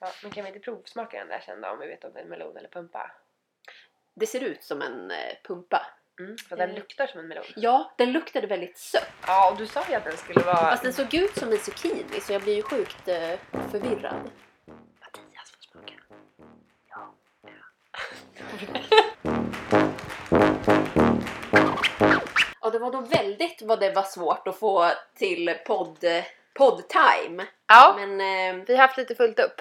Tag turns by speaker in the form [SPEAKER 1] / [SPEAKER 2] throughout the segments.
[SPEAKER 1] Ja, men kan vi inte provsmaka den där sen då om vi vet om det är en melon eller pumpa?
[SPEAKER 2] Det ser ut som en eh, pumpa.
[SPEAKER 1] Mm, för den
[SPEAKER 2] Mm.
[SPEAKER 1] luktar som en melon.
[SPEAKER 2] Ja, den luktade väldigt sött.
[SPEAKER 1] Ja, och du sa ju att den skulle vara...
[SPEAKER 2] Fast den såg ut som en zucchini så jag blir ju sjukt eh, förvirrad.
[SPEAKER 1] Mattias får smaka.
[SPEAKER 2] Ja, det var då väldigt vad det var svårt att få till podd, podd-time.
[SPEAKER 1] Ja,
[SPEAKER 2] Men eh,
[SPEAKER 1] vi har haft lite fullt upp.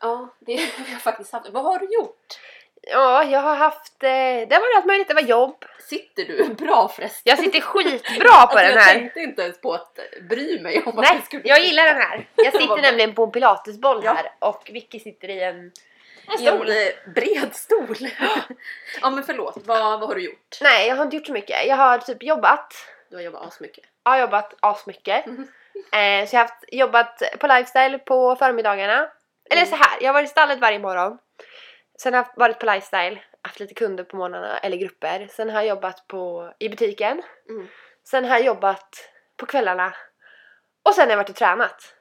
[SPEAKER 2] ja, det har jag faktiskt haft. Vad har du gjort?
[SPEAKER 1] Ja, jag har haft... Eh, det har varit allt möjligt. Det var jobb.
[SPEAKER 2] Sitter du bra förresten?
[SPEAKER 1] Jag sitter skitbra på
[SPEAKER 2] Alltså,
[SPEAKER 1] den
[SPEAKER 2] jag
[SPEAKER 1] här.
[SPEAKER 2] tänkte inte ens på att bry mig om att
[SPEAKER 1] Nej,
[SPEAKER 2] du skulle...
[SPEAKER 1] jag gillar den här. Jag
[SPEAKER 2] Vad
[SPEAKER 1] sitter
[SPEAKER 2] bra.
[SPEAKER 1] nämligen på en pilatesboll
[SPEAKER 2] Ja.
[SPEAKER 1] här och Vicky sitter i en... En
[SPEAKER 2] I en eh, bred stol. ja men förlåt, vad, vad har du gjort?
[SPEAKER 1] Nej, jag har inte gjort så mycket. Jag har typ jobbat.
[SPEAKER 2] Du har jobbat asmycket.
[SPEAKER 1] Jag har jobbat asmycket.
[SPEAKER 2] Mhm.
[SPEAKER 1] Eh, så jag har haft, jobbat på lifestyle på förmiddagarna. Eller
[SPEAKER 2] Mm.
[SPEAKER 1] så här, jag har varit i stallet varje morgon. Sen har jag haft- varit på lifestyle, haft lite kunder på morgnarna eller grupper. Sen har jag jobbat på, i butiken.
[SPEAKER 2] Mm.
[SPEAKER 1] Sen har jag jobbat på kvällarna. Och sen har jag varit och tränat.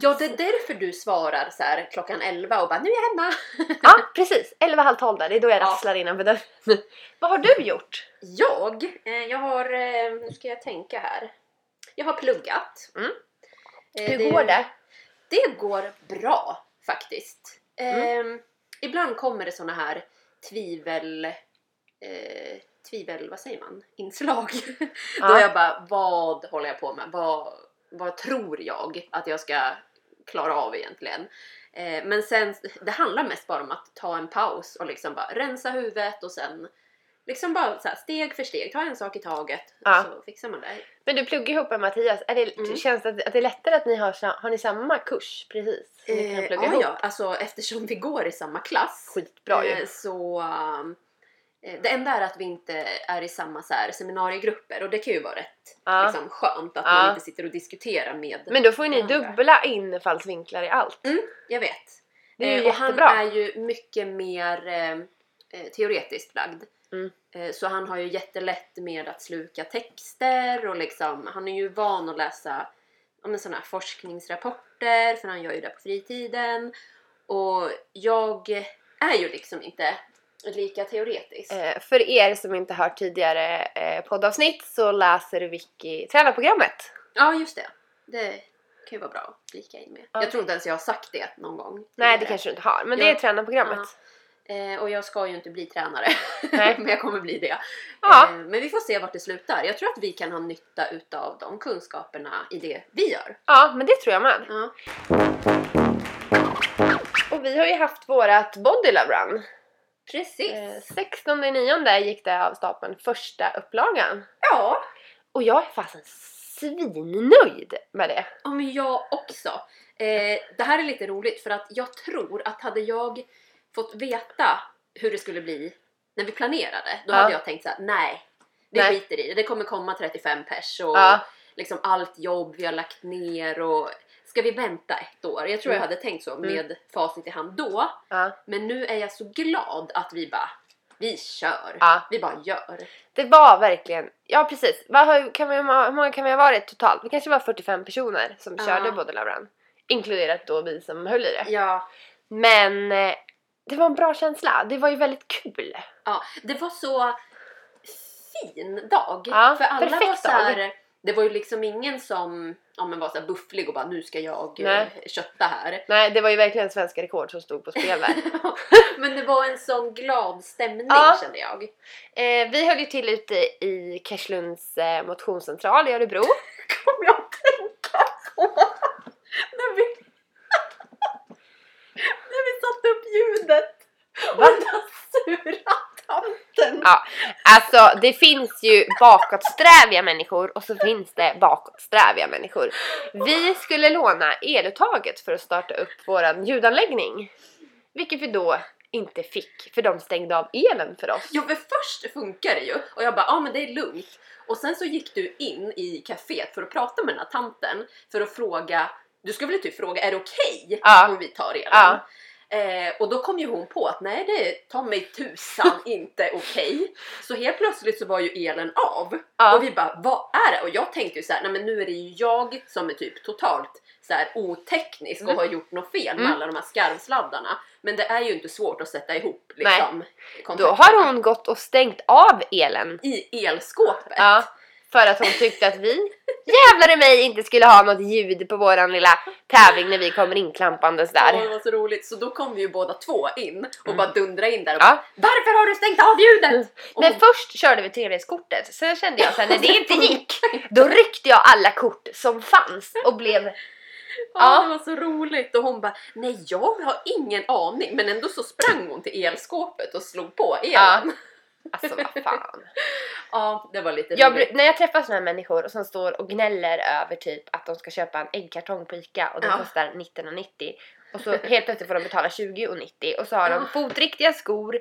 [SPEAKER 2] Ja det är därför du svarar så här klockan 11 och bara nu är jag hemma.
[SPEAKER 1] Ja, precis. Elva, halv tolv där. Det är då jag
[SPEAKER 2] Ja.
[SPEAKER 1] rasslar innanför dörren. Vad har du gjort?
[SPEAKER 2] Jag, eh, jag har, eh, nu ska jag tänka här. Jag har pluggat.
[SPEAKER 1] Mm.
[SPEAKER 2] Eh,
[SPEAKER 1] Hur går det?
[SPEAKER 2] Det går bra faktiskt.
[SPEAKER 1] Mm.
[SPEAKER 2] Eh, ibland kommer det såna här tvivel... Eh, tvivel, vad säger man? Inslag. Då
[SPEAKER 1] Ja.
[SPEAKER 2] är jag bara, vad håller jag på med? Vad, vad tror jag att jag ska klara av egentligen? Eh, men sen, det handlar mest bara om att ta en paus och liksom bara rensa huvudet och sen liksom bara så här, steg för steg, ta en sak i taget
[SPEAKER 1] Ja.
[SPEAKER 2] och så fixar man det.
[SPEAKER 1] Men du pluggar ihop med Mattias. Är det,
[SPEAKER 2] Mm.
[SPEAKER 1] Känns det att, att det är lättare att ni har, sa- har ni samma kurs precis? Som ni kan
[SPEAKER 2] Eh,
[SPEAKER 1] plugga
[SPEAKER 2] ja,
[SPEAKER 1] ihop?
[SPEAKER 2] ja, alltså eftersom vi går i samma klass
[SPEAKER 1] Skitbra ju.
[SPEAKER 2] eh, så eh, det enda är att vi inte är i samma så här, seminariegrupper och det kan ju vara rätt
[SPEAKER 1] Ja.
[SPEAKER 2] liksom, skönt att
[SPEAKER 1] Ja.
[SPEAKER 2] man inte sitter och diskuterar med
[SPEAKER 1] Men då får ju ni
[SPEAKER 2] andra.
[SPEAKER 1] dubbla infallsvinklar i allt.
[SPEAKER 2] Jag vet. Eh,
[SPEAKER 1] Det är ju
[SPEAKER 2] och han
[SPEAKER 1] jättebra.
[SPEAKER 2] är ju mycket mer eh, eh, teoretiskt lagd.
[SPEAKER 1] Mm.
[SPEAKER 2] Eh, så han har ju jättelätt med att sluka texter och liksom, han är ju van att läsa ja, men såna här forskningsrapporter för han gör ju det på fritiden. Och jag är ju liksom inte lika teoretisk.
[SPEAKER 1] Eh, för er som inte hört tidigare eh, poddavsnitt så läser Vicky tränarprogrammet.
[SPEAKER 2] Ja, just det. Det kan ju vara bra att flika in med.
[SPEAKER 1] Ja.
[SPEAKER 2] Jag tror inte ens jag har sagt det någon gång.
[SPEAKER 1] Nej det
[SPEAKER 2] tidigare.
[SPEAKER 1] kanske du inte har, men
[SPEAKER 2] Ja.
[SPEAKER 1] det är tränarprogrammet.
[SPEAKER 2] Eh, och jag ska ju inte bli tränare.
[SPEAKER 1] Nej.
[SPEAKER 2] men jag kommer bli det.
[SPEAKER 1] Ja.
[SPEAKER 2] Eh, men vi får se vart det slutar. Jag tror att vi kan ha nytta utav de kunskaperna i det vi gör.
[SPEAKER 1] Ja, men det tror jag med.
[SPEAKER 2] Ja.
[SPEAKER 1] Och vi har ju haft vårat Body Love Run.
[SPEAKER 2] Precis.
[SPEAKER 1] Eh, 16 9 gick det av stapeln, första upplagan.
[SPEAKER 2] Ja.
[SPEAKER 1] Och jag är fasen svinnöjd med det.
[SPEAKER 2] ja, men jag också. Eh, det här är lite roligt för att jag tror att hade jag fått veta hur det skulle bli när vi planerade, då
[SPEAKER 1] Ja.
[SPEAKER 2] hade jag tänkt så här: nej. Vi
[SPEAKER 1] Nej.
[SPEAKER 2] skiter i det. Det kommer komma 35 pers och
[SPEAKER 1] Ja.
[SPEAKER 2] liksom allt jobb vi har lagt ner och ska vi vänta ett år? Jag tror jag
[SPEAKER 1] Mm.
[SPEAKER 2] hade tänkt så
[SPEAKER 1] Mm.
[SPEAKER 2] med facit i hand då.
[SPEAKER 1] ja.
[SPEAKER 2] Men nu är jag så glad att vi bara, vi kör.
[SPEAKER 1] Ja.
[SPEAKER 2] Vi bara gör.
[SPEAKER 1] Det var verkligen, ja precis. Vad har, kan vi, hur många kan vi ha varit totalt? Vi kanske var 45 personer som
[SPEAKER 2] Ja.
[SPEAKER 1] körde Body Love Run. Inkluderat då vi som höll i det.
[SPEAKER 2] Ja.
[SPEAKER 1] Men eh, det var en bra känsla. Det var ju väldigt kul.
[SPEAKER 2] ja. Det var så fin dag.
[SPEAKER 1] Ja,
[SPEAKER 2] För alla var
[SPEAKER 1] perfekt
[SPEAKER 2] så här, det var ju liksom ingen som ja, men var så här bufflig och bara nu ska jag eh,
[SPEAKER 1] Nej.
[SPEAKER 2] kötta här.
[SPEAKER 1] Nej, det var ju verkligen svenska rekord som stod på spel där.
[SPEAKER 2] men det var en sån glad stämning
[SPEAKER 1] Ja.
[SPEAKER 2] kände jag.
[SPEAKER 1] eh, vi höll ju till ute i Kerslunds eh, motionscentral i Örebro.
[SPEAKER 2] Kommer jag att tänka på när vi, när vi satte upp ljudet och den där sura tanten.
[SPEAKER 1] Ja, alltså det finns ju bakåtsträviga människor och så finns det bakåtsträviga människor. Vi skulle låna eluttaget för att starta upp våran ljudanläggning. Vilket vi då inte fick för de stängde av elen för oss.
[SPEAKER 2] Jo för först funkar det ju och jag bara ja ah, men det är lugnt. Och sen så gick du in i kaféet för att prata med den här tanten för att fråga, du skulle väl typ fråga är det okej
[SPEAKER 1] Ja.
[SPEAKER 2] om vi tar elen?
[SPEAKER 1] Ja.
[SPEAKER 2] Eh, och då kom ju hon på att nej det är ta mig tusan inte okej. Så helt plötsligt så var ju elen av.
[SPEAKER 1] Ja.
[SPEAKER 2] Och vi bara vad är det? Och jag tänkte ju så här, nej men nu är det ju jag som är typ totalt så här oteknisk
[SPEAKER 1] Mm.
[SPEAKER 2] och har gjort något fel med
[SPEAKER 1] Mm.
[SPEAKER 2] alla de här skarvsladdarna. Men det är ju inte svårt att sätta ihop
[SPEAKER 1] Nej.
[SPEAKER 2] liksom.
[SPEAKER 1] Då
[SPEAKER 2] kontakterna.
[SPEAKER 1] har hon gått och stängt av elen.
[SPEAKER 2] I elskåpet.
[SPEAKER 1] Ja, för att hon tyckte att vi, jävlar i mig, inte skulle ha något ljud på våran lilla tävling när vi kommer inklampandes
[SPEAKER 2] Ja, det
[SPEAKER 1] där.
[SPEAKER 2] var så roligt. Så då kom vi ju båda två in och
[SPEAKER 1] Mm.
[SPEAKER 2] bara dundrade in där och
[SPEAKER 1] Ja. Mm.
[SPEAKER 2] bara, Varför har du stängt av ljudet? Och
[SPEAKER 1] Men
[SPEAKER 2] hon-
[SPEAKER 1] först körde vi trevlighetskortet, sen kände jag sen när det inte gick, då ryckte jag alla kort som fanns och blev...
[SPEAKER 2] ja,
[SPEAKER 1] ja.
[SPEAKER 2] det var så roligt. Och hon bara Nej jag har ingen aning. Men ändå så sprang hon till elskåpet och slog på elen.
[SPEAKER 1] Ja.
[SPEAKER 2] Ja,
[SPEAKER 1] Alltså vad fan.
[SPEAKER 2] det var lite
[SPEAKER 1] Jag,
[SPEAKER 2] roligt.
[SPEAKER 1] bru- när jag träffar såna här människor som står och gnäller över typ att de ska köpa en äggkartong på ICA och den
[SPEAKER 2] Ja.
[SPEAKER 1] kostar 19,90 och så helt plötsligt får de betala 20,90 och så har
[SPEAKER 2] Ja.
[SPEAKER 1] de fotriktiga skor,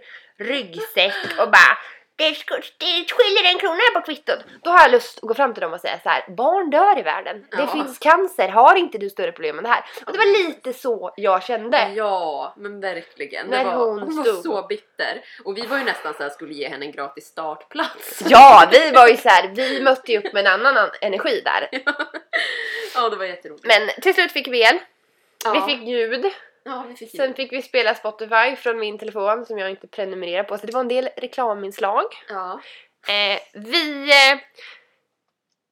[SPEAKER 1] ryggsäck och bara det, sko- det skiljer en krona på kvittot. Då har jag lust att gå fram till dem och säga så här: barn dör i världen.
[SPEAKER 2] Ja.
[SPEAKER 1] Det finns cancer, har inte du större problem än det här? Och det var lite så jag kände.
[SPEAKER 2] Ja, men verkligen. Det
[SPEAKER 1] Men
[SPEAKER 2] var,
[SPEAKER 1] hon
[SPEAKER 2] hon, var
[SPEAKER 1] stod-
[SPEAKER 2] så bitter. Och vi var ju nästan så här skulle ge henne en gratis startplats.
[SPEAKER 1] Ja, vi var ju så här, vi mötte ju upp med en annan an- energi där.
[SPEAKER 2] ja, det var jätteroligt.
[SPEAKER 1] Men till slut fick vi el,
[SPEAKER 2] ja.
[SPEAKER 1] vi fick ljud.
[SPEAKER 2] ja, vi fick
[SPEAKER 1] Sen fick vi spela Spotify från min telefon som jag inte prenumererar på, så det var en del reklaminslag.
[SPEAKER 2] ja.
[SPEAKER 1] Eh, vi, eh,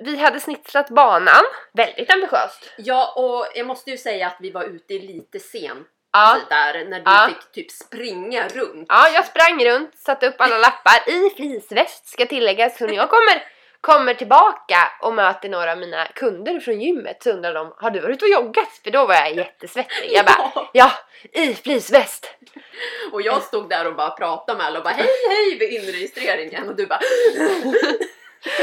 [SPEAKER 1] vi hade snitslat banan, väldigt ambitiöst.
[SPEAKER 2] ja, och jag måste ju säga att vi var ute lite sent
[SPEAKER 1] Ja.
[SPEAKER 2] där när du
[SPEAKER 1] Ja.
[SPEAKER 2] fick typ springa runt.
[SPEAKER 1] ja, jag sprang runt, satte upp alla lappar i fleeceväst ska tilläggas, så när jag kommer, kommer tillbaka och möter några av mina kunder från gymmet så undrar de, har du varit ute och joggat? För då var jag jättesvettig. Jag bara,
[SPEAKER 2] Ja,
[SPEAKER 1] ja, i fleeceväst.
[SPEAKER 2] och jag stod där och bara pratade med alla och bara hej hej vid inregistreringen och du bara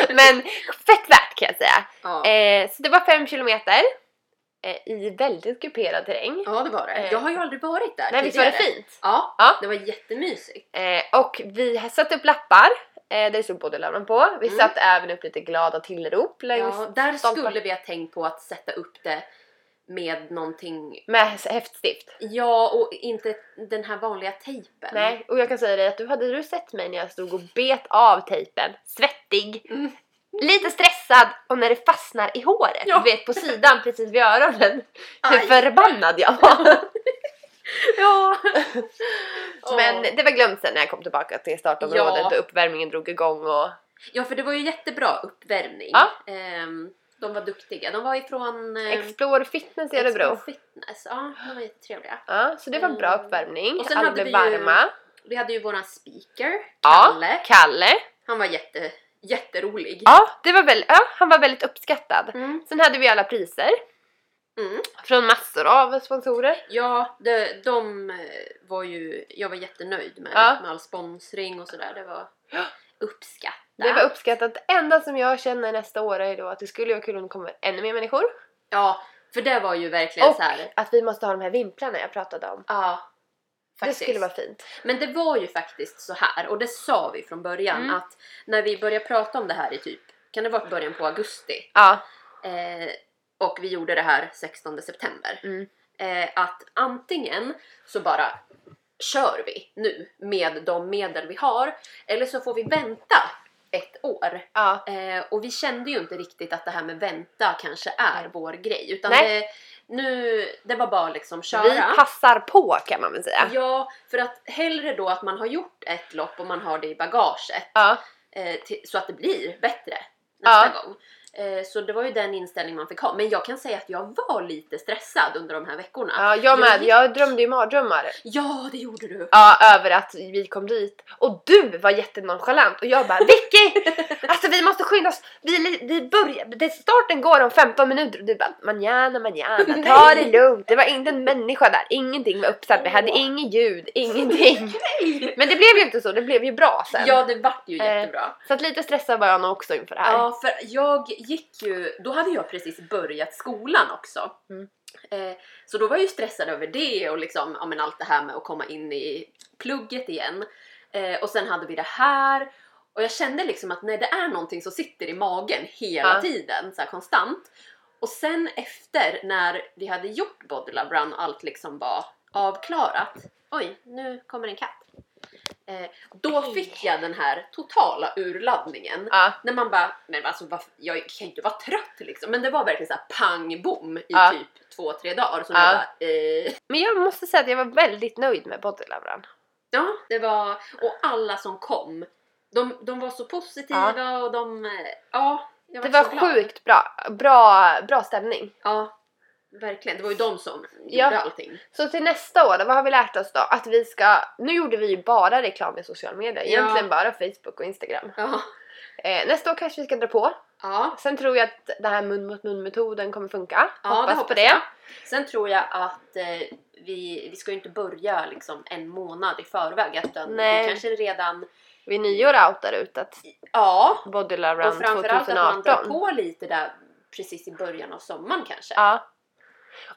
[SPEAKER 1] Men fett värt kan jag säga.
[SPEAKER 2] ja.
[SPEAKER 1] Eh, så det var 5 kilometer eh, i väldigt kuperad terräng.
[SPEAKER 2] ja det var det. Jag har ju aldrig varit där
[SPEAKER 1] Eh. Nej visst var det
[SPEAKER 2] tidigare.
[SPEAKER 1] fint?
[SPEAKER 2] Ja,
[SPEAKER 1] Ja.
[SPEAKER 2] det var jättemysigt.
[SPEAKER 1] Eh, och vi har satt upp lappar eh, där det stod både namn på. Vi
[SPEAKER 2] Mm.
[SPEAKER 1] satte även upp lite glada tillrop längs
[SPEAKER 2] Ja, där
[SPEAKER 1] stompa-
[SPEAKER 2] skulle vi ha tänkt på att sätta upp det med någonting,
[SPEAKER 1] med häftstift.
[SPEAKER 2] ja och inte den här vanliga tejpen.
[SPEAKER 1] Nej, och jag kan säga dig att du hade du sett mig när jag stod och bet av tejpen, svettig,
[SPEAKER 2] Mm.
[SPEAKER 1] lite stressad och när det fastnar i håret,
[SPEAKER 2] Ja.
[SPEAKER 1] du vet på sidan precis vid öronen, hur
[SPEAKER 2] Aj.
[SPEAKER 1] förbannad jag var.
[SPEAKER 2] Ja.
[SPEAKER 1] Men
[SPEAKER 2] Åh.
[SPEAKER 1] det var glömt sen när jag kom tillbaka till startområdet
[SPEAKER 2] Ja.
[SPEAKER 1] och uppvärmningen drog igång och
[SPEAKER 2] ja för det var ju jättebra uppvärmning.
[SPEAKER 1] Ja.
[SPEAKER 2] Ehm, de var duktiga. De var ifrån ehm,
[SPEAKER 1] Explore Fitness i
[SPEAKER 2] Expo
[SPEAKER 1] Örebro.
[SPEAKER 2] Fitness. Ja, de var jättetrevliga.
[SPEAKER 1] Ja, så det var en bra
[SPEAKER 2] Mm.
[SPEAKER 1] uppvärmning.
[SPEAKER 2] Och sen
[SPEAKER 1] Alla blev
[SPEAKER 2] hade vi ju-
[SPEAKER 1] varma.
[SPEAKER 2] Vi hade ju våran speaker,
[SPEAKER 1] Ja.
[SPEAKER 2] Kalle.
[SPEAKER 1] Kalle.
[SPEAKER 2] Han var jätte, jätterolig.
[SPEAKER 1] Ja, det var väl, ja, han var väldigt uppskattad.
[SPEAKER 2] Mm.
[SPEAKER 1] Sen hade vi alla priser
[SPEAKER 2] Mm.
[SPEAKER 1] från massor av sponsorer.
[SPEAKER 2] Ja, de, de eh, var ju... Jag var jättenöjd med,
[SPEAKER 1] Ja.
[SPEAKER 2] med all sponsring och sådär. Det var
[SPEAKER 1] Ja.
[SPEAKER 2] uppskattat.
[SPEAKER 1] Det var uppskattat. Det enda som jag känner nästa år är då att det skulle vara kul om det kommer ännu mer människor.
[SPEAKER 2] Ja, för det var ju verkligen
[SPEAKER 1] Och-
[SPEAKER 2] så här.
[SPEAKER 1] Att vi måste ha de här vimplarna jag pratade om.
[SPEAKER 2] Ja. Faktiskt.
[SPEAKER 1] Det skulle vara fint.
[SPEAKER 2] Men det var ju faktiskt så här och det sa vi från början
[SPEAKER 1] Mm.
[SPEAKER 2] att när vi började prata om det här i typ, kan det vara början på augusti?
[SPEAKER 1] Ja,
[SPEAKER 2] Eh, och vi gjorde det här 16 september.
[SPEAKER 1] Mm.
[SPEAKER 2] Eh, att antingen så bara kör vi nu med de medel vi har eller så får vi vänta ett år.
[SPEAKER 1] ja,
[SPEAKER 2] Eh, och vi kände ju inte riktigt att det här med vänta kanske är vår grej utan
[SPEAKER 1] Nej.
[SPEAKER 2] det, nu, det var bara liksom köra.
[SPEAKER 1] vi passar på kan man väl säga.
[SPEAKER 2] Ja, för att hellre då att man har gjort ett lopp och man har det i bagaget
[SPEAKER 1] Ja,
[SPEAKER 2] eh, till, så att det blir bättre nästa
[SPEAKER 1] Ja.
[SPEAKER 2] gång. Eh, så det var ju den inställning man fick ha. Men jag kan säga att jag var lite stressad under de här veckorna.
[SPEAKER 1] ja jag med.
[SPEAKER 2] gick-
[SPEAKER 1] Jag drömde ju mardrömmar
[SPEAKER 2] Ja, det gjorde du!
[SPEAKER 1] Ja, över att vi kom dit. Och du var jättenonchalant och jag bara Vicky! Alltså vi måste skynda oss. Vi, vi börjar, det, starten går om 15 minuter och du bara manjana, manjana, ta det
[SPEAKER 2] Nej.
[SPEAKER 1] lugnt. Det var inte en människa där, ingenting var uppsatt, vi hade
[SPEAKER 2] Åh.
[SPEAKER 1] inget ljud, ingenting. Men det blev ju inte så, det blev ju bra sen.
[SPEAKER 2] Ja, det vart ju
[SPEAKER 1] Eh,
[SPEAKER 2] jättebra.
[SPEAKER 1] Så att lite stressad var jag nog också inför det här.
[SPEAKER 2] Ja, för jag gick ju... Då hade jag precis börjat skolan också.
[SPEAKER 1] Mm.
[SPEAKER 2] Eh, så då var jag ju stressad över det och liksom, ja, men allt det här med att komma in i plugget igen. Eh, och sen hade vi det här. Och jag kände liksom att när det är någonting som sitter i magen hela
[SPEAKER 1] Ja.
[SPEAKER 2] tiden, så här konstant. Och sen efter när vi hade gjort Body Love Run och allt liksom var avklarat. Oj, nu kommer en katt. Eh, då fick jag den här totala urladdningen.
[SPEAKER 1] Ja.
[SPEAKER 2] När man bara, men alltså varför- jag kan ju inte vara trött liksom. Men det var verkligen såhär pang bom i
[SPEAKER 1] Ja.
[SPEAKER 2] typ två, tre dagar. Som
[SPEAKER 1] Ja.
[SPEAKER 2] jag bara, eh.
[SPEAKER 1] Men jag måste säga att jag var väldigt nöjd med bodylovran.
[SPEAKER 2] Ja, det var, och alla som kom, de, de var så positiva och de, eh, ja. Jag
[SPEAKER 1] Det var
[SPEAKER 2] så glad.
[SPEAKER 1] sjukt bra. Bra, bra stämning.
[SPEAKER 2] Ja, verkligen. Det var ju de som
[SPEAKER 1] Ja.
[SPEAKER 2] gjorde allting.
[SPEAKER 1] Så till nästa år, vad har vi lärt oss då? Att vi ska... Nu gjorde vi ju bara reklam i sociala medier.
[SPEAKER 2] Ja.
[SPEAKER 1] Egentligen bara Facebook och Instagram.
[SPEAKER 2] Ja.
[SPEAKER 1] Eh, nästa år kanske vi ska dra på.
[SPEAKER 2] Ja,
[SPEAKER 1] Sen tror jag att den här mun mot mun metoden kommer funka.
[SPEAKER 2] Ja, det
[SPEAKER 1] hoppas på
[SPEAKER 2] hoppas
[SPEAKER 1] det.
[SPEAKER 2] jag. sen tror jag att eh, vi, vi ska ju inte börja liksom en månad i förväg utan
[SPEAKER 1] Nej.
[SPEAKER 2] vi kanske redan,
[SPEAKER 1] Vid nyår outar ut att
[SPEAKER 2] ja,
[SPEAKER 1] Body
[SPEAKER 2] och
[SPEAKER 1] Love Run
[SPEAKER 2] framförallt att man drar
[SPEAKER 1] 2018.
[SPEAKER 2] på lite där precis i början av sommaren kanske.
[SPEAKER 1] Ja.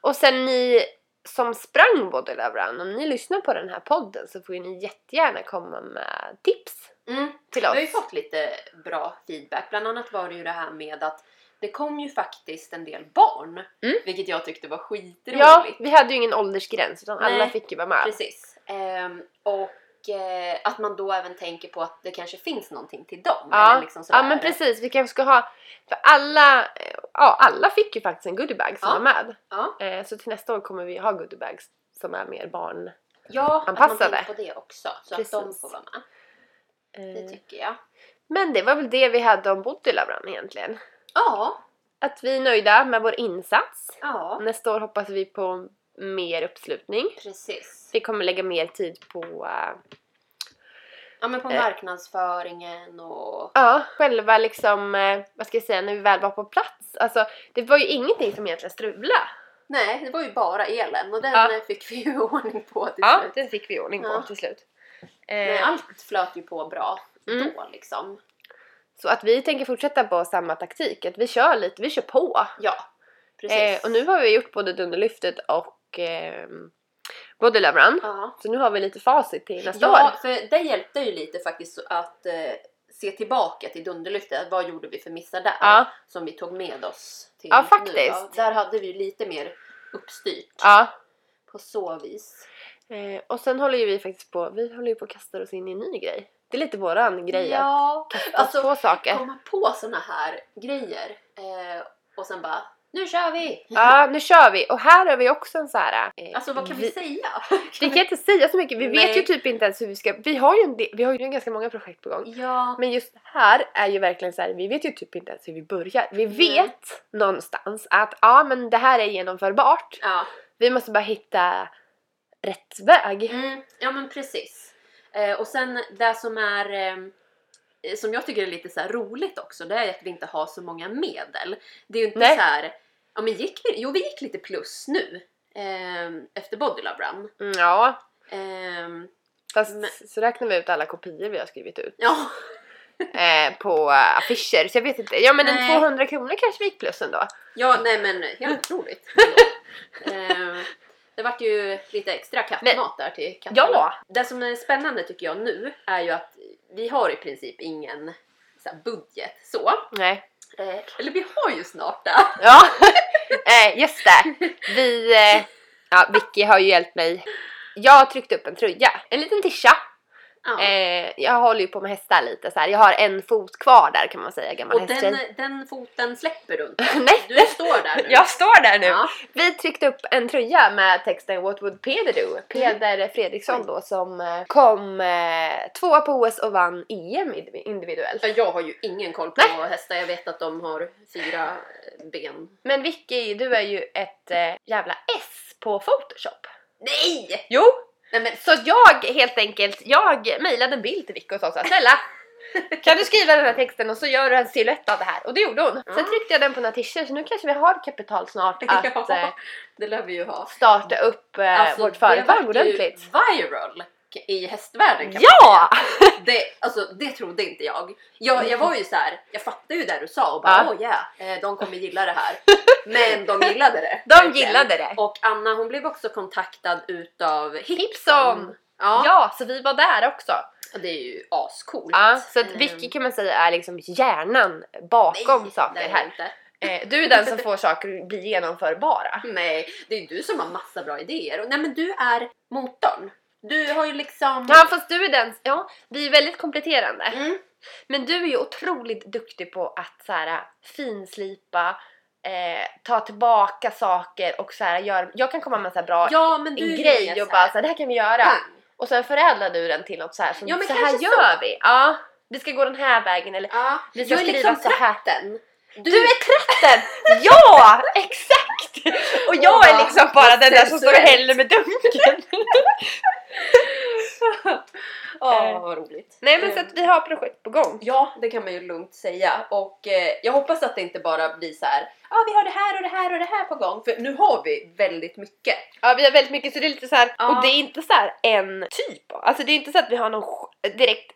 [SPEAKER 1] Och sen ni som sprang Body Love Run, om ni lyssnar på den här podden så får ju ni jättegärna komma med tips
[SPEAKER 2] Mm.
[SPEAKER 1] till
[SPEAKER 2] Vi har ju
[SPEAKER 1] oss.
[SPEAKER 2] fått lite bra feedback, bland annat var det ju det här med att det kom ju faktiskt en del barn,
[SPEAKER 1] Mm.
[SPEAKER 2] vilket jag tyckte var skitroligt.
[SPEAKER 1] Ja, vi hade ju ingen åldersgräns utan alla
[SPEAKER 2] Nej,
[SPEAKER 1] fick ju vara med.
[SPEAKER 2] Precis. Ehm, och eh, att man då även tänker på att det kanske finns någonting till dem.
[SPEAKER 1] Ja.
[SPEAKER 2] eller liksom sådär.
[SPEAKER 1] Ja men precis, vi kanske ska ha... För alla, eh, ja, alla fick ju faktiskt en goodiebag som
[SPEAKER 2] Ja.
[SPEAKER 1] var med.
[SPEAKER 2] Ja,
[SPEAKER 1] Eh, Så till nästa år kommer vi ha goodiebags som är mer barn... Eh,
[SPEAKER 2] ja att man
[SPEAKER 1] Anpassade.
[SPEAKER 2] tänker på det också. Så att de
[SPEAKER 1] Precis.
[SPEAKER 2] får vara med. Det
[SPEAKER 1] Eh,
[SPEAKER 2] tycker jag.
[SPEAKER 1] Men det var väl det vi hade om Body Love Run egentligen.
[SPEAKER 2] Ja,
[SPEAKER 1] Att vi är nöjda med vår insats.
[SPEAKER 2] ja
[SPEAKER 1] Nästa år hoppas vi på mer uppslutning.
[SPEAKER 2] precis.
[SPEAKER 1] Vi kommer lägga mer tid på eh,
[SPEAKER 2] Ja men på
[SPEAKER 1] Eh.
[SPEAKER 2] marknadsföringen och...
[SPEAKER 1] ja, själva liksom, eh, vad ska jag säga, när vi väl var på plats. Alltså det var ju ingenting som egentligen strulade.
[SPEAKER 2] Nej, det var ju bara elen och den
[SPEAKER 1] Ja.
[SPEAKER 2] eh, fick vi ju ordning på till
[SPEAKER 1] Ja,
[SPEAKER 2] slut.
[SPEAKER 1] den fick vi ordning på
[SPEAKER 2] Ja.
[SPEAKER 1] till slut.
[SPEAKER 2] Men
[SPEAKER 1] Eh,
[SPEAKER 2] allt flöt ju på bra
[SPEAKER 1] Mm.
[SPEAKER 2] då liksom.
[SPEAKER 1] så att vi tänker fortsätta på samma taktik, att vi kör lite, vi kör på.
[SPEAKER 2] Ja, precis.
[SPEAKER 1] Eh, och nu har vi gjort både Dunderlyftet och eh, Body Love Run.
[SPEAKER 2] ja.
[SPEAKER 1] Så nu har vi lite facit till nästa
[SPEAKER 2] ja,
[SPEAKER 1] år.
[SPEAKER 2] för det hjälpte ju lite faktiskt att eh, se tillbaka till Dunderlyftet. Vad gjorde vi för missar där?
[SPEAKER 1] Ja,
[SPEAKER 2] Som vi tog med oss till
[SPEAKER 1] Ja,
[SPEAKER 2] nu.
[SPEAKER 1] faktiskt.
[SPEAKER 2] Där hade vi lite mer uppstyrt
[SPEAKER 1] ja.
[SPEAKER 2] på så vis.
[SPEAKER 1] Eh, och sen håller ju vi faktiskt på, vi håller ju på att kasta oss in i en ny grej. Det är lite våran grej att
[SPEAKER 2] Ja,
[SPEAKER 1] kasta oss
[SPEAKER 2] alltså,
[SPEAKER 1] på saker.
[SPEAKER 2] komma på såna här grejer eh, och sen bara nu kör vi!
[SPEAKER 1] Ja, nu kör vi! Och här har vi också en så här... eh,
[SPEAKER 2] Alltså vad kan vi, säga?
[SPEAKER 1] Vi kan inte säga så mycket, vi vet
[SPEAKER 2] Nej.
[SPEAKER 1] ju typ inte ens hur vi ska... Vi har ju, en del, vi har ju ganska många projekt på gång.
[SPEAKER 2] Ja,
[SPEAKER 1] Men just det här är ju verkligen så här, vi vet ju typ inte ens hur vi börjar. Vi
[SPEAKER 2] Nej.
[SPEAKER 1] vet någonstans att ja men det här är genomförbart.
[SPEAKER 2] ja.
[SPEAKER 1] Vi måste bara hitta rätt väg.
[SPEAKER 2] Mm, ja men precis. Eh, och sen det som är eh, som jag tycker är lite så här roligt också, det är att vi inte har så många medel. Det är ju inte
[SPEAKER 1] Nej.
[SPEAKER 2] så här, ja men gick vi, jo vi gick lite plus nu eh, efter Body Love Run.
[SPEAKER 1] Mm, ja,
[SPEAKER 2] Eh,
[SPEAKER 1] fast
[SPEAKER 2] Men-
[SPEAKER 1] så räknar vi ut alla kopior vi har skrivit ut.
[SPEAKER 2] ja,
[SPEAKER 1] eh, på eh, affischer så jag vet inte. Ja men en
[SPEAKER 2] Nej.
[SPEAKER 1] 200 kronor kanske vi gick plus ändå.
[SPEAKER 2] ja nej men helt otroligt. eh, det vart ju lite extra kattmat där till katterna. Det som är spännande tycker jag nu är ju att vi har i princip ingen så här, budget så.
[SPEAKER 1] Nej.
[SPEAKER 2] Eh, eller vi har ju snart det.
[SPEAKER 1] Ja. eh, just det. Vi, eh, ja Vicky har ju hjälpt mig. Jag har tryckt upp en tröja, en liten tisha.
[SPEAKER 2] Ja.
[SPEAKER 1] Eh, jag håller ju på med hästar lite så här. jag har en fot kvar där kan man säga, gammal
[SPEAKER 2] och
[SPEAKER 1] hästtjej.
[SPEAKER 2] den, den foten släpper du inte.
[SPEAKER 1] Nej,
[SPEAKER 2] Du står där nu.
[SPEAKER 1] jag står där nu!
[SPEAKER 2] Ja.
[SPEAKER 1] Vi tryckte upp en tröja med texten What would Peder
[SPEAKER 2] Mm.
[SPEAKER 1] do? Peder Fredriksson då som eh, kom eh, tvåa på OS och vann EM indiv- individuellt.
[SPEAKER 2] Ja, Jag har ju ingen koll på hästar. Jag vet att de har fyra eh, ben.
[SPEAKER 1] Men Vicky, du är ju ett eh, jävla S på Photoshop.
[SPEAKER 2] Nej!
[SPEAKER 1] Jo!
[SPEAKER 2] Nej men
[SPEAKER 1] Så jag helt enkelt, jag mejlade en bild till Vicky och sa såhär Snälla! Kan du skriva den här texten och så gör du en silhuett av det här? Och det gjorde hon. Sen
[SPEAKER 2] Mm.
[SPEAKER 1] tryckte jag den på några t-shirts så nu kanske vi har kapital snart att eh,
[SPEAKER 2] ja, det lär vi ju ha. Alltså,
[SPEAKER 1] starta upp eh, vårt
[SPEAKER 2] det
[SPEAKER 1] företag
[SPEAKER 2] vart ju
[SPEAKER 1] ordentligt.
[SPEAKER 2] viral k- i hästvärlden kan
[SPEAKER 1] Ja!
[SPEAKER 2] man säga. Det, alltså, det trodde inte jag. Jag, jag var ju så här, jag fattade ju det du sa och bara
[SPEAKER 1] Ja.
[SPEAKER 2] åh oh, yeah, eh, de kommer gilla det här. Men de gillade det.
[SPEAKER 1] De
[SPEAKER 2] verkligen.
[SPEAKER 1] gillade det.
[SPEAKER 2] Och Anna hon blev också kontaktad utav Hipson.
[SPEAKER 1] Hipson!
[SPEAKER 2] Ja,
[SPEAKER 1] Mm. Ja, så vi var där också. Mm.
[SPEAKER 2] Och det är ju ascoolt.
[SPEAKER 1] Ja, så att
[SPEAKER 2] Ehm,
[SPEAKER 1] Vicky kan man säga är liksom hjärnan bakom
[SPEAKER 2] nej,
[SPEAKER 1] saker
[SPEAKER 2] det är det
[SPEAKER 1] här.
[SPEAKER 2] Inte.
[SPEAKER 1] Eh, du är den som får saker bli genomförbara.
[SPEAKER 2] Nej, det är du som har massa bra idéer. Och, nej men du är motorn. Du har ju liksom...
[SPEAKER 1] Ja fast du är den, ja vi är väldigt kompletterande.
[SPEAKER 2] Mm.
[SPEAKER 1] Men du är ju otroligt duktig på att så här, äh, finslipa, eh, ta tillbaka saker och så här, gör, jag kan komma med en så här bra
[SPEAKER 2] Ja men du
[SPEAKER 1] en
[SPEAKER 2] är ju
[SPEAKER 1] grej
[SPEAKER 2] mer
[SPEAKER 1] och
[SPEAKER 2] så
[SPEAKER 1] bara
[SPEAKER 2] här,
[SPEAKER 1] så här, det här kan vi göra.
[SPEAKER 2] pang.
[SPEAKER 1] Och sen förädlar du den till något så här, som,
[SPEAKER 2] Ja, men
[SPEAKER 1] så här
[SPEAKER 2] kanske
[SPEAKER 1] gör vi. Ja, vi ska gå den här vägen eller
[SPEAKER 2] Ja,
[SPEAKER 1] vi ska
[SPEAKER 2] jag är
[SPEAKER 1] skriva
[SPEAKER 2] liksom
[SPEAKER 1] så här.
[SPEAKER 2] tratten.
[SPEAKER 1] Du är tratten! ja! Exakt! Och jag är
[SPEAKER 2] Åh,
[SPEAKER 1] liksom bara
[SPEAKER 2] vad
[SPEAKER 1] den där som står och
[SPEAKER 2] sensuellt.
[SPEAKER 1] häller med dunken.
[SPEAKER 2] Åh, vad roligt.
[SPEAKER 1] Nej men så
[SPEAKER 2] Mm.
[SPEAKER 1] att vi har projekt på gång.
[SPEAKER 2] Ja, det kan man ju lugnt säga. Och eh, jag hoppas att det inte bara blir så här. Ja, vi har det här och det här och det här på gång. För nu har vi väldigt mycket.
[SPEAKER 1] Ja vi har väldigt mycket så det är lite så här,
[SPEAKER 2] Ja.
[SPEAKER 1] och det är inte så här en typ. Alltså det är inte så att vi har någon sj- direkt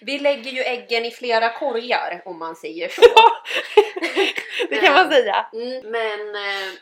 [SPEAKER 2] Vi lägger ju äggen i flera korgar om man säger så.
[SPEAKER 1] Det kan man säga.
[SPEAKER 2] Mm, men eh,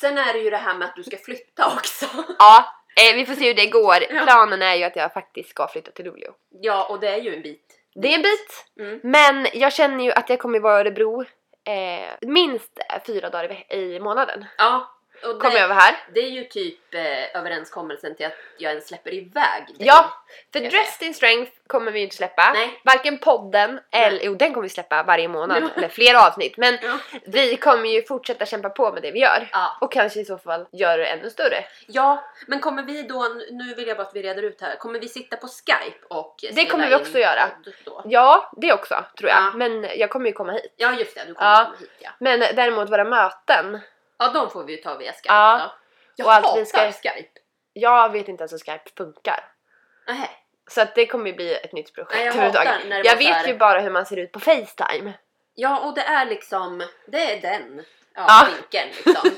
[SPEAKER 2] sen är det ju det här med att du ska flytta också.
[SPEAKER 1] Ja, eh, vi får se hur det går.
[SPEAKER 2] Ja.
[SPEAKER 1] Planen är ju att jag faktiskt ska flytta till Luleå.
[SPEAKER 2] Ja, och det är ju en bit.
[SPEAKER 1] Det är en bit,
[SPEAKER 2] Mm.
[SPEAKER 1] men jag känner ju att jag kommer vara i Örebro eh, minst fyra dagar i, ve- i månaden.
[SPEAKER 2] Ja, och
[SPEAKER 1] Kommer
[SPEAKER 2] det,
[SPEAKER 1] över här.
[SPEAKER 2] det är ju typ eh, överenskommelsen till att jag ens släpper iväg dig.
[SPEAKER 1] Ja, för
[SPEAKER 2] Jag
[SPEAKER 1] Dressed in Strength kommer vi ju inte släppa.
[SPEAKER 2] Nej.
[SPEAKER 1] Varken podden,
[SPEAKER 2] Nej.
[SPEAKER 1] eller jo den kommer vi släppa varje månad,
[SPEAKER 2] Ja.
[SPEAKER 1] eller flera avsnitt. Men
[SPEAKER 2] Ja.
[SPEAKER 1] vi kommer ju fortsätta kämpa på med det vi gör.
[SPEAKER 2] Ja.
[SPEAKER 1] Och kanske i så fall göra det ännu större.
[SPEAKER 2] ja, men kommer vi då, nu vill jag bara att vi reder ut här, kommer vi sitta på skype och spela
[SPEAKER 1] kommer vi
[SPEAKER 2] in
[SPEAKER 1] också göra.
[SPEAKER 2] podd Då?
[SPEAKER 1] Ja, det också tror jag.
[SPEAKER 2] Ja.
[SPEAKER 1] Men jag kommer ju komma hit.
[SPEAKER 2] Ja just det, du kommer
[SPEAKER 1] Ja.
[SPEAKER 2] komma hit ja.
[SPEAKER 1] Men däremot våra möten
[SPEAKER 2] Ja, de får vi ju ta via skype
[SPEAKER 1] Ja.
[SPEAKER 2] då. Jag
[SPEAKER 1] Och allt
[SPEAKER 2] hatar
[SPEAKER 1] vi ska-
[SPEAKER 2] skype.
[SPEAKER 1] Jag vet inte ens hur Skype funkar.
[SPEAKER 2] Nähä.
[SPEAKER 1] Så att det kommer ju bli ett nytt projekt
[SPEAKER 2] Nej, jag
[SPEAKER 1] överhuvudtaget.
[SPEAKER 2] hatar när det
[SPEAKER 1] Jag
[SPEAKER 2] var så
[SPEAKER 1] vet
[SPEAKER 2] här-
[SPEAKER 1] ju bara hur man ser ut på Facetime.
[SPEAKER 2] Ja, och det är liksom, det är den ja,
[SPEAKER 1] Ja.
[SPEAKER 2] vinkeln liksom.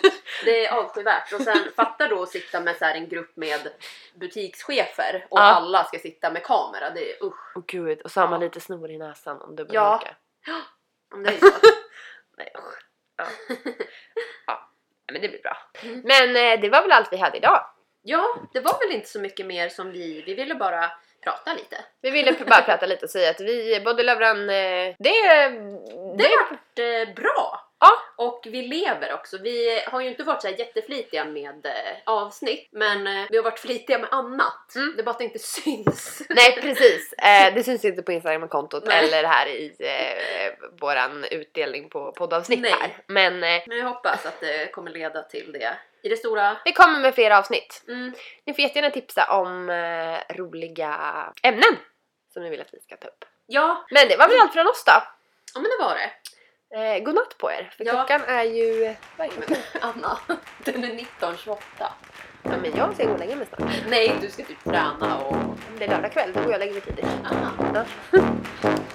[SPEAKER 2] Det är avskyvärt. Och sen fatta då att sitta med så här en grupp med butikschefer och
[SPEAKER 1] Ja.
[SPEAKER 2] alla ska sitta med kamera. Det är usch.
[SPEAKER 1] Och gud, och så har man lite snor i näsan om dubbelhaka.
[SPEAKER 2] Ja. Om det är så.
[SPEAKER 1] Nej usch. Ja. ja. Men det blir bra.
[SPEAKER 2] Mm.
[SPEAKER 1] Men eh, det var väl allt vi hade idag.
[SPEAKER 2] Ja, det var väl inte så mycket mer som vi, vi ville bara prata lite.
[SPEAKER 1] Vi ville pr- bara prata lite och säga att vi, både Löfven, eh, det...
[SPEAKER 2] Det
[SPEAKER 1] det
[SPEAKER 2] har varit eh, bra!
[SPEAKER 1] Ja.
[SPEAKER 2] Och vi lever också. Vi har ju inte varit så här jätteflitiga med eh, avsnitt, men eh, vi har varit flitiga med annat.
[SPEAKER 1] Mm.
[SPEAKER 2] Det är bara att det inte syns.
[SPEAKER 1] Nej precis, eh, det syns inte på Instagram-kontot
[SPEAKER 2] Nej.
[SPEAKER 1] eller här i eh, våran utdelning på poddavsnitt
[SPEAKER 2] Nej.
[SPEAKER 1] här. Men eh,
[SPEAKER 2] Men jag hoppas att det kommer leda till det i det stora.
[SPEAKER 1] vi kommer med fler avsnitt.
[SPEAKER 2] Mm.
[SPEAKER 1] Ni får jättegärna tipsa om eh, roliga ämnen som ni vill att vi ska ta upp.
[SPEAKER 2] Ja,
[SPEAKER 1] Men det var väl allt från oss då.
[SPEAKER 2] ja, men det var det.
[SPEAKER 1] Eh, god natt på er, för
[SPEAKER 2] Ja.
[SPEAKER 1] klockan är ju... Vad är klockan?
[SPEAKER 2] Anna, den är 19.28.
[SPEAKER 1] Ja, men jag ska gå och lägga mig snart.
[SPEAKER 2] Nej, du ska typ träna och...
[SPEAKER 1] Det är lördag kväll, då går jag och lägger mig tidigt.
[SPEAKER 2] Anna.
[SPEAKER 1] Ja.